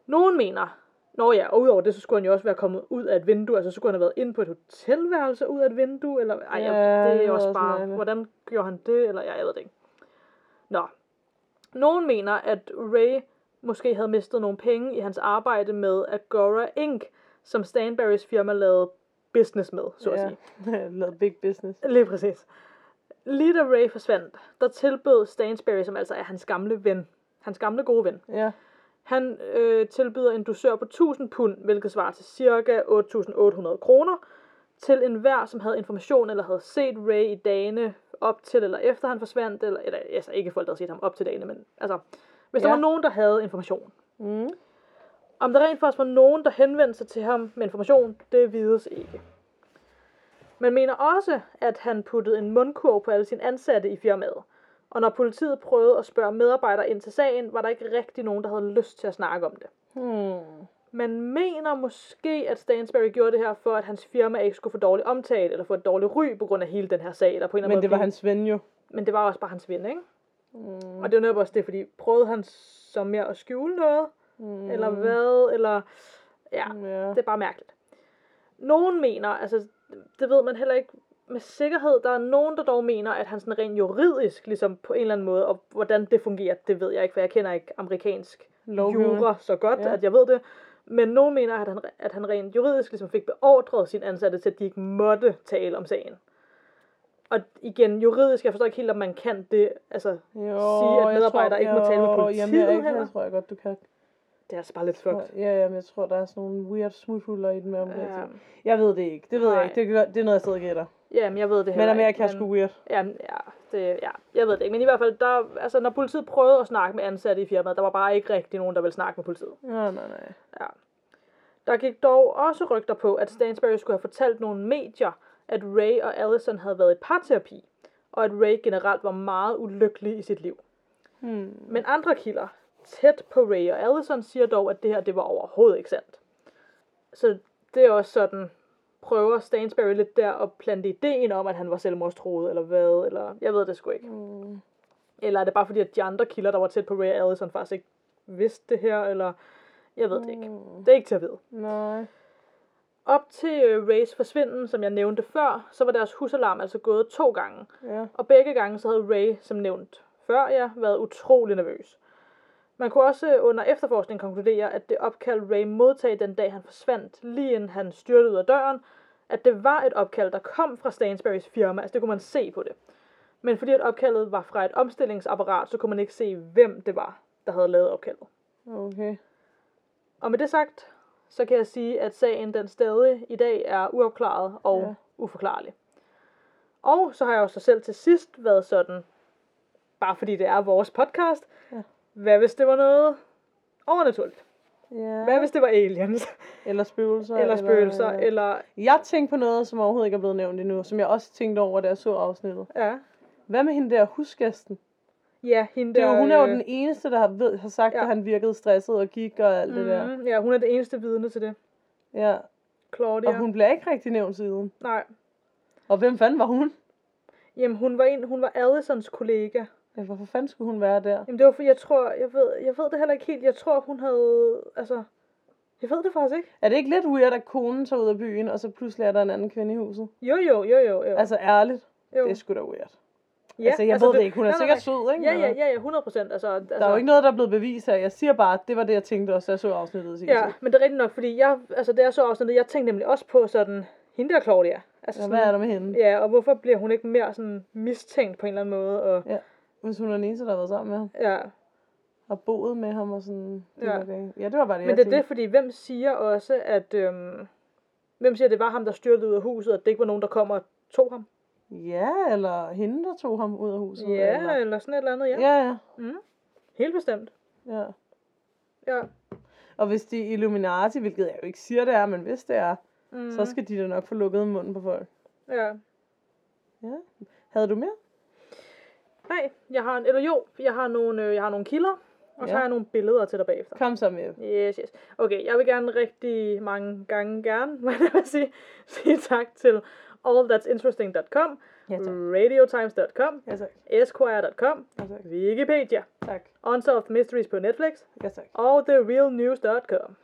Speaker 2: Nogen mener, Nå ja, og udover det, så skulle han jo også være kommet ud af et vindue, altså så skulle han have været inde på et hotelværelse ud af et vindue, eller ej,
Speaker 1: Ja,
Speaker 2: ja, det
Speaker 1: det
Speaker 2: er
Speaker 1: er
Speaker 2: også
Speaker 1: også
Speaker 2: bare,
Speaker 1: mærkeligt.
Speaker 2: hvordan gjorde han det, eller ja, jeg ved det ikke. Nå. Nogen mener, at Ray måske havde mistet nogle penge i hans arbejde med Agora Inc., som Stanberrys firma lavede business med, så at sige.
Speaker 1: ja. Lavet big business.
Speaker 2: Lige præcis. Lige da Ray forsvandt, der tilbød Stansberry, som altså er hans gamle ven, hans gamle gode ven,
Speaker 1: Ja.
Speaker 2: han øh, tilbyder en dusør på 1000 pund, hvilket svarer til ca. 8.800 kroner, til enhver, som havde information eller havde set Ray i dagene op til eller efter han forsvandt, eller, eller altså ikke folk, der havde set ham op til dagene, men altså, hvis ja. der
Speaker 1: Ja.
Speaker 2: var nogen, der havde information.
Speaker 1: Mm.
Speaker 2: Om der rent faktisk var nogen, der henvendte sig til ham med information, det vides ikke. Man mener også, at han puttede en mundkurv på alle sine ansatte i firmaet. Og når politiet prøvede at spørge medarbejdere ind til sagen, var der ikke rigtig nogen, der havde lyst til at snakke om det.
Speaker 1: Hmm.
Speaker 2: Man mener måske, at Stansberry gjorde det her, for at hans firma ikke skulle få dårlig omtale, eller få et dårligt ry på grund af hele den her sag. Eller på en eller anden
Speaker 1: Men det
Speaker 2: måde
Speaker 1: var hans ven jo.
Speaker 2: blive- Men det var også bare hans ven, ikke?
Speaker 1: Mm.
Speaker 2: Og det er jo netop også det, fordi prøvede han så mere at skjule noget? Mm. Eller hvad? Eller... Ja,
Speaker 1: Ja.
Speaker 2: det er bare mærkeligt. Nogen mener, altså det ved man heller ikke med sikkerhed, der er nogen, der dog mener, at han sådan rent juridisk, ligesom på en eller anden måde, og hvordan det fungerer, det ved jeg ikke, for jeg kender ikke amerikansk
Speaker 1: lovgivning.
Speaker 2: jura så godt,
Speaker 1: Ja.
Speaker 2: ja. at jeg ved det. Men nogen mener, at han, at han rent juridisk ligesom fik beordret sin ansatte til, at de ikke måtte tale om sagen. Og igen, juridisk, jeg forstår ikke helt, om man kan det. Altså,
Speaker 1: Jo,
Speaker 2: sige, at
Speaker 1: jeg
Speaker 2: medarbejdere
Speaker 1: tror-
Speaker 2: ikke må tale med
Speaker 1: jo,
Speaker 2: politiet
Speaker 1: Jamen, jeg, ikke,
Speaker 2: heller?
Speaker 1: jeg tror jeg godt, du kan.
Speaker 2: det er altså bare lidt fucked.
Speaker 1: Ja, ja, men jeg tror, der er sådan nogle weird smuthuller i den med omkring.
Speaker 2: Ja,
Speaker 1: Ja. Jeg ved det ikke. Det ved
Speaker 2: Nej.
Speaker 1: jeg ikke. Det, kan godt- det er noget, jeg sidder og gætter.
Speaker 2: Jamen, jeg ved det
Speaker 1: Men
Speaker 2: heller
Speaker 1: Amerika er
Speaker 2: ikke,
Speaker 1: sgu weird.
Speaker 2: Jamen, ja, det, ja, jeg ved det ikke. Men i hvert fald, der, altså, når politiet prøvede at snakke med ansatte i firmaet, der var bare ikke rigtig nogen, der ville snakke med politiet.
Speaker 1: Nej, nej, nej.
Speaker 2: Der gik dog også rygter på, at Stansberry skulle have fortalt nogle medier, at Ray og Allison havde været i parterapi, og at Ray generelt var meget ulykkelig i sit liv.
Speaker 1: Hmm.
Speaker 2: Men andre kilder, tæt på Ray og Allison, siger dog, at det her det var overhovedet ikke sandt. Så det er også sådan, prøver Stansberry lidt der at plante ideen om, at han var selvmordstroet, eller hvad, eller jeg ved det sgu ikke.
Speaker 1: Hmm.
Speaker 2: Eller er det bare fordi, at de andre kilder, der var tæt på Ray og Allison, faktisk ikke vidste det her, eller jeg ved det ikke. Det er ikke til at vide.
Speaker 1: Nej.
Speaker 2: Op til øh, Rays forsvinden, som jeg nævnte før, så var deres husalarm altså gået to gange.
Speaker 1: Ja.
Speaker 2: Og begge gange så havde Ray, som nævnt før ja, været utrolig nervøs. Man kunne også øh, under efterforskning konkludere, at det opkald Ray modtog den dag han forsvandt, lige inden han styrtede ud af døren, at det var et opkald, der kom fra Stansberrys firma, altså det kunne man se på det. Men fordi at opkaldet var fra et omstillingsapparat, så kunne man ikke se, hvem det var, der havde lavet opkaldet.
Speaker 1: Okay.
Speaker 2: Og med det sagt, så kan jeg sige, at sagen den stadig i dag er uopklaret og
Speaker 1: Ja.
Speaker 2: ja. uforklarlig. Og så har jeg jo så selv til sidst været sådan, bare fordi det er vores podcast,
Speaker 1: Ja.
Speaker 2: ja. hvad hvis det var noget overnaturligt?
Speaker 1: Ja.
Speaker 2: Hvad hvis det var aliens,
Speaker 1: Eller øh, spøgelser.
Speaker 2: eller spøgelser, eller...
Speaker 1: Jeg tænkte på noget, som overhovedet ikke er blevet nævnt endnu, som jeg også tænkte over, da jeg så afsnittet.
Speaker 2: Ja,
Speaker 1: Hvad med hende der husgæsten?
Speaker 2: ja hende
Speaker 1: Det
Speaker 2: der...
Speaker 1: er jo, hun er jo
Speaker 2: øh,
Speaker 1: den eneste, der har, ved, har sagt, ja.
Speaker 2: Ja.
Speaker 1: at han virkede stresset og gik og alt mm. det der.
Speaker 2: mm, Ja, hun er det eneste vidne til det.
Speaker 1: Ja.
Speaker 2: Claudia.
Speaker 1: Og hun bliver ikke rigtig nævnt siden.
Speaker 2: Nej.
Speaker 1: Og hvem fanden var hun?
Speaker 2: Jamen, hun var, en, hun var Addisons kollega.
Speaker 1: Ja, hvorfor fanden skulle hun være der?
Speaker 2: Jamen, det var for, jeg tror... Jeg ved, jeg ved det heller ikke helt. Jeg tror, hun havde... Altså... Jeg ved det faktisk ikke.
Speaker 1: Er det ikke lidt weird, at konen tager ud af byen, og så pludselig er der en anden kvinde i huset?
Speaker 2: Jo, jo, jo, jo. jo.
Speaker 1: Altså ærligt,
Speaker 2: jo.
Speaker 1: det er sgu da weird.
Speaker 2: ja,
Speaker 1: altså jeg ved
Speaker 2: du-
Speaker 1: det ikke, hun er
Speaker 2: nej, nej,
Speaker 1: sikkert
Speaker 2: nej.
Speaker 1: sød, ikke?
Speaker 2: Ja, ja, ja, ja, 100 procent. Altså, altså,
Speaker 1: Der er jo ikke noget, der er blevet bevist her. Jeg siger bare, at det var det, jeg tænkte også, da jeg så afsnittet. i sin
Speaker 2: Ja,
Speaker 1: tid.
Speaker 2: men det er rigtigt nok, fordi jeg, altså, det er så afsnittet, jeg tænkte nemlig også på sådan, hende der Claudia. Altså,
Speaker 1: ja.
Speaker 2: sådan,
Speaker 1: Hvad er der med hende?
Speaker 2: Ja, og hvorfor bliver hun ikke mere sådan mistænkt på en eller anden måde? Og,
Speaker 1: Hvis hun er den eneste, der har været sammen med ham.
Speaker 2: ja.
Speaker 1: Har boet med ham og sådan. Det
Speaker 2: Ja.
Speaker 1: var det. ja, det var bare det,
Speaker 2: Men det
Speaker 1: jeg
Speaker 2: er
Speaker 1: tænkte.
Speaker 2: det, fordi hvem siger også, at... Øhm, hvem siger, at det var ham, der styrtede ud af huset, og at det ikke var nogen, der kom og tog ham?
Speaker 1: Ja, eller hende, der tog ham ud af huset.
Speaker 2: Ja,
Speaker 1: eller...
Speaker 2: eller sådan et eller andet, ja.
Speaker 1: ja, ja.
Speaker 2: Mm. Helt bestemt.
Speaker 1: ja.
Speaker 2: Ja.
Speaker 1: Og hvis de er Illuminati, hvilket jeg jo ikke siger, det er, men hvis det er, mm.
Speaker 2: Mm.
Speaker 1: så skal de da nok få lukket munden på folk.
Speaker 2: Ja.
Speaker 1: Ja. Havde du mere?
Speaker 2: Nej, jeg har en, eller jo, jeg har nogle, øh, jeg har nogle kilder, og så
Speaker 1: Ja.
Speaker 2: har jeg nogle billeder til dig bagefter.
Speaker 1: Kom så med.
Speaker 2: Yes, yes. Okay, jeg vil gerne rigtig mange gange gerne, hvad jeg vil sige, sige tak til allthat'sinteresting.com,
Speaker 1: Ja, tak.
Speaker 2: radiotimes.com,
Speaker 1: Ja, tak.
Speaker 2: esquire.com,
Speaker 1: Ja, tak.
Speaker 2: Wikipedia,
Speaker 1: Tak.
Speaker 2: Unsolved Mysteries på Netflix
Speaker 1: Ja, tak.
Speaker 2: og TheRealNews.com.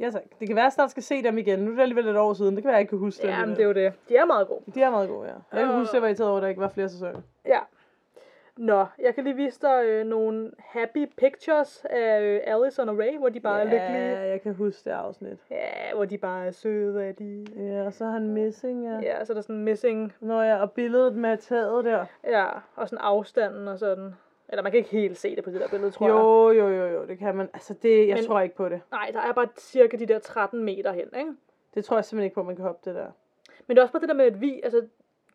Speaker 1: Ja, tak. Det kan være, at jeg snart skal se dem igen. Nu er det alligevel et år siden. Det kan være, at jeg ikke kan huske dem.
Speaker 2: Jamen, det er
Speaker 1: alligevel.
Speaker 2: jo det. De er meget gode.
Speaker 1: De er meget gode, ja. Jeg kan
Speaker 2: Og-
Speaker 1: huske, at jeg var irriteret over, at der ikke var flere sæsoner.
Speaker 2: Ja. Nå, jeg kan lige vise dig øh, nogle happy pictures af øh, Allison og Ray, hvor de bare er lykkelige.
Speaker 1: Ja, jeg kan huske det afsnit.
Speaker 2: Ja, hvor de bare er søde, og de...
Speaker 1: Ja, og så er han missing, ja.
Speaker 2: Ja, så er der sådan missing,
Speaker 1: Når jeg og billedet med taget der.
Speaker 2: ja, og sådan afstanden og sådan. Eller man kan ikke helt se det på det der billede, tror jeg.
Speaker 1: Jo, jo, jo, jo, det kan man. Altså, det, jeg
Speaker 2: Men-
Speaker 1: tror ikke på det.
Speaker 2: Nej, der er bare cirka de der 13 meter hen, ikke?
Speaker 1: Det tror jeg simpelthen ikke på, at man kan hoppe det der.
Speaker 2: Men det er også bare det der med, at vi, altså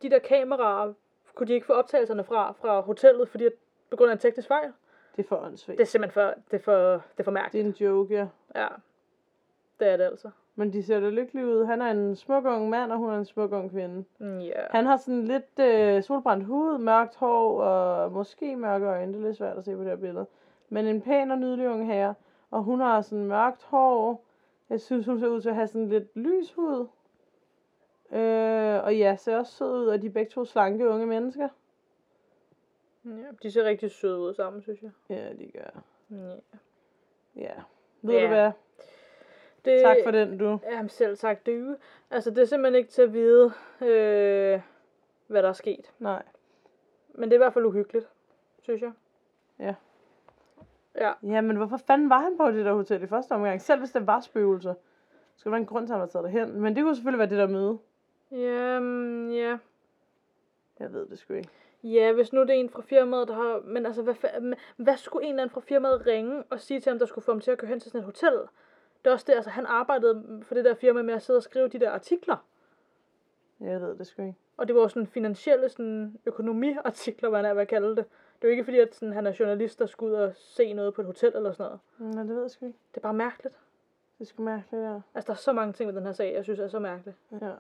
Speaker 2: de der kameraer, kunne de ikke få optagelserne fra, fra hotellet, fordi at, på grund af en teknisk fejl?
Speaker 1: Det er for åndssvagt.
Speaker 2: Det er simpelthen for, det er for, det er for
Speaker 1: det
Speaker 2: mærkeligt.
Speaker 1: er en joke, ja.
Speaker 2: Ja, det er det altså.
Speaker 1: Men de ser da lykkelige ud. Han er en smuk ung mand, og hun er en smuk ung kvinde.
Speaker 2: Mm, Ja.
Speaker 1: Han har sådan lidt øh, solbrændt hud, mørkt hår og måske mørke øjne. Det er lidt svært at se på det her billede. Men en pæn og nydelig ung herre. Og hun har sådan mørkt hår. Jeg synes, hun ser ud til at have sådan lidt lys hud. Øh, og ja, ser også sød ud. Og de er begge to slanke unge mennesker.
Speaker 2: ja. De ser rigtig søde ud sammen, synes jeg. Mm,
Speaker 1: Ja, de gør.
Speaker 2: Ja.
Speaker 1: Ja. Ved
Speaker 2: Ja.
Speaker 1: du hvad?
Speaker 2: Det,
Speaker 1: Tak for den, du.
Speaker 2: Jamen selv sagt det er jo- Altså det er simpelthen ikke til at vide, øh, hvad der er sket.
Speaker 1: Nej.
Speaker 2: Men det er i hvert fald uhyggeligt, synes jeg.
Speaker 1: Ja.
Speaker 2: Ja.
Speaker 1: Ja, men hvorfor fanden var han på det der hotel i første omgang? Selv hvis det var spøgelser. Så Skal der være en grund til, at han var taget derhen? Men det kunne selvfølgelig være det der møde.
Speaker 2: Jamen, ja.
Speaker 1: Jeg ved det sgu ikke.
Speaker 2: Ja, hvis nu det er en fra firmaet, der har... Men altså, hvad, fa- men hvad skulle en eller anden fra firmaet ringe og sige til ham, der skulle få ham til at køre hen til sådan et hotel? Det er også det, altså han arbejdede for det der firma med at sidde og skrive de der artikler.
Speaker 1: Jeg ved det sgu ikke.
Speaker 2: Og det var jo sådan finansielle sådan, økonomiartikler, hvad han er ved at kalde det. Det er jo ikke fordi, at sådan, han er journalist, der skal ud og se noget på et hotel eller sådan noget.
Speaker 1: Nej, det ved jeg sgu ikke.
Speaker 2: Det er bare mærkeligt.
Speaker 1: Det er sgu mærkeligt, ja.
Speaker 2: Altså, der er så mange ting ved den her sag, jeg synes er så mærkeligt.
Speaker 1: ja.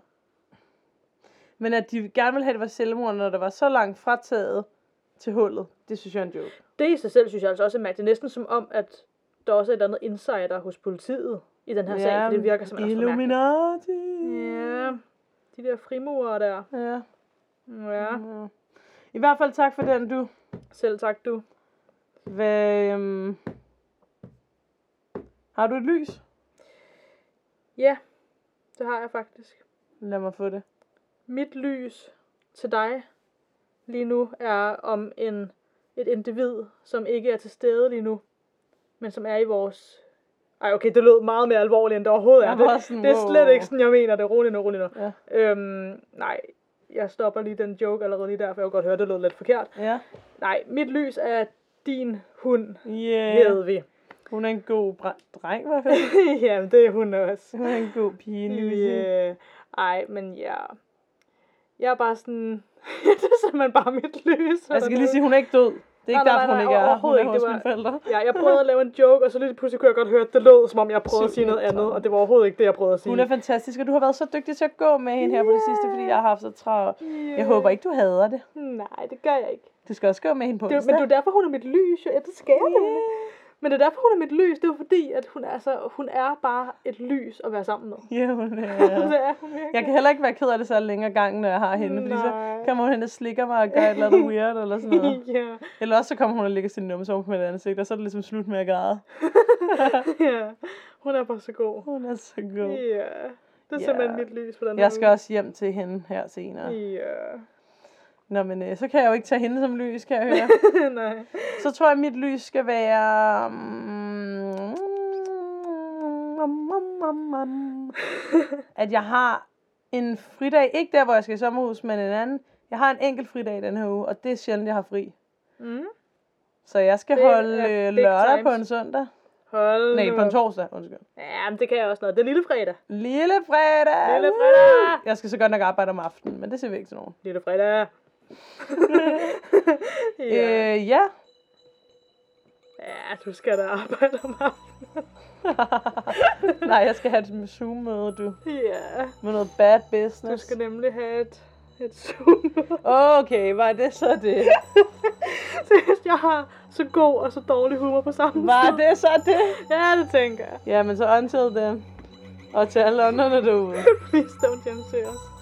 Speaker 1: Men at de gerne ville have, at det var selvmord, når det var så langt frataget til hullet, det synes jeg er en joke.
Speaker 2: Det i sig selv synes jeg altså også er mærkeligt. Det er næsten som om, at der også er et eller andet insider hos politiet i den her ja, sag, for det virker simpelthen også for mærkeligt.
Speaker 1: Illuminati.
Speaker 2: Ja, de der frimurer der.
Speaker 1: Ja.
Speaker 2: Ja,
Speaker 1: ja. I hvert fald tak for den, du.
Speaker 2: selv tak du.
Speaker 1: Hvad, øhm... Har du et lys?
Speaker 2: Ja, det har jeg faktisk.
Speaker 1: Lad mig få det.
Speaker 2: Mit lys til dig lige nu er om en, et individ, som ikke er til stede lige nu, men som er i vores... Ej, okay, det lød meget mere alvorligt, end det overhovedet er.
Speaker 1: Jeg var
Speaker 2: Det,
Speaker 1: sådan,
Speaker 2: det er
Speaker 1: wow.
Speaker 2: slet ikke sådan, jeg mener det. Rolig nu, rolig nu.
Speaker 1: Ja.
Speaker 2: Øhm, nej, jeg stopper lige den joke allerede lige der, for jeg kunne godt høre, det lød lidt forkert.
Speaker 1: Ja.
Speaker 2: Nej, mit lys er din hund,
Speaker 1: Yeah.
Speaker 2: hed vi.
Speaker 1: Hun er en god bra- dreng, i hvert fald.
Speaker 2: Jamen, det er hun også.
Speaker 1: Hun er en god pige, Louise.
Speaker 2: Øh, ej, men ja. Jeg er bare sådan... det er simpelthen bare mit lys.
Speaker 1: Jeg skal lige sige, hun er ikke død. Det er ikke
Speaker 2: Nej, nej,
Speaker 1: derfor,
Speaker 2: nej,
Speaker 1: hun
Speaker 2: nej,
Speaker 1: ikke er her. Hun er
Speaker 2: overhovedet ikke.
Speaker 1: hos
Speaker 2: Det var-
Speaker 1: mine forældre.
Speaker 2: Ja, jeg prøvede at lave en joke, og så lige pludselig kunne jeg godt høre, at det lød, som om jeg prøvede at sige noget andet, og det var overhovedet ikke det, jeg prøvede at sige.
Speaker 1: Hun er fantastisk, og du har været så dygtig til at gå med hende her på det sidste, fordi jeg har haft så travlt. Jeg håber ikke, du hader det.
Speaker 2: Nej, det gør jeg ikke.
Speaker 1: Du skal også gå med hende på
Speaker 2: Det, er-
Speaker 1: onsdag.
Speaker 2: men det er jo derfor, hun er mit lys. jo. Ja, det skal jeg nemlig. Men det er derfor, hun er mit lys. Det er jo fordi, at hun, er- altså, hun er bare et lys at være sammen med.
Speaker 1: Ja, hun er...
Speaker 2: det er hun virkelig.
Speaker 1: Jeg kan heller ikke være ked af det så længe gangen, når jeg har hende, fordi så
Speaker 2: Nej.
Speaker 1: kommer hun hen og slikker mig og gør et eller andet weird eller sådan noget.
Speaker 2: ja.
Speaker 1: Eller også så kommer hun og lægger sin numse over på mit ansigt, og så er det ligesom slut med at græde.
Speaker 2: ja, hun er bare så god.
Speaker 1: Hun er så
Speaker 2: Ja,
Speaker 1: god.
Speaker 2: det er
Speaker 1: Ja.
Speaker 2: simpelthen mit lys på den her
Speaker 1: Jeg skal også hjem til hende her senere.
Speaker 2: uge. Ja,
Speaker 1: Nå, men øh, så kan jeg jo ikke tage hende som lys, kan jeg høre.
Speaker 2: nej.
Speaker 1: Så tror jeg, at mit lys skal være... mm, At jeg har en fridag, ikke der, hvor jeg skal i sommerhus, men en anden. Jeg har en enkelt fridag i den her uge, og det er sjældent, jeg har fri.
Speaker 2: Mm.
Speaker 1: Så jeg skal
Speaker 2: Det
Speaker 1: det
Speaker 2: er
Speaker 1: holde øh,
Speaker 2: big
Speaker 1: lørdag
Speaker 2: times.
Speaker 1: på en søndag.
Speaker 2: Hold
Speaker 1: Nej,
Speaker 2: nu
Speaker 1: på en
Speaker 2: op.
Speaker 1: torsdag, undskyld.
Speaker 2: Ja, men det kan jeg også noget. Det er lille fredag.
Speaker 1: Lille fredag!
Speaker 2: Lille fredag!
Speaker 1: Jeg skal så godt nok arbejde om aftenen, men det ser vi ikke til nogen.
Speaker 2: Lille fredag. ja.
Speaker 1: Ja. Øh, ja.
Speaker 2: ja, du skal da arbejde om aftenen.
Speaker 1: Nej, jeg skal have et Zoom-møde, du.
Speaker 2: ja,
Speaker 1: Med noget bad
Speaker 2: du
Speaker 1: business.
Speaker 2: skal nemlig have et, et zoom
Speaker 1: Okay, var det så det?
Speaker 2: Seriøst, jeg har så god og så dårlig humor på samme
Speaker 1: Var
Speaker 2: tid.
Speaker 1: det så det?
Speaker 2: Ja, det tænker jeg.
Speaker 1: Jamen, så until then. Og til alle ånderne derude.
Speaker 2: Please don't jump seriøst.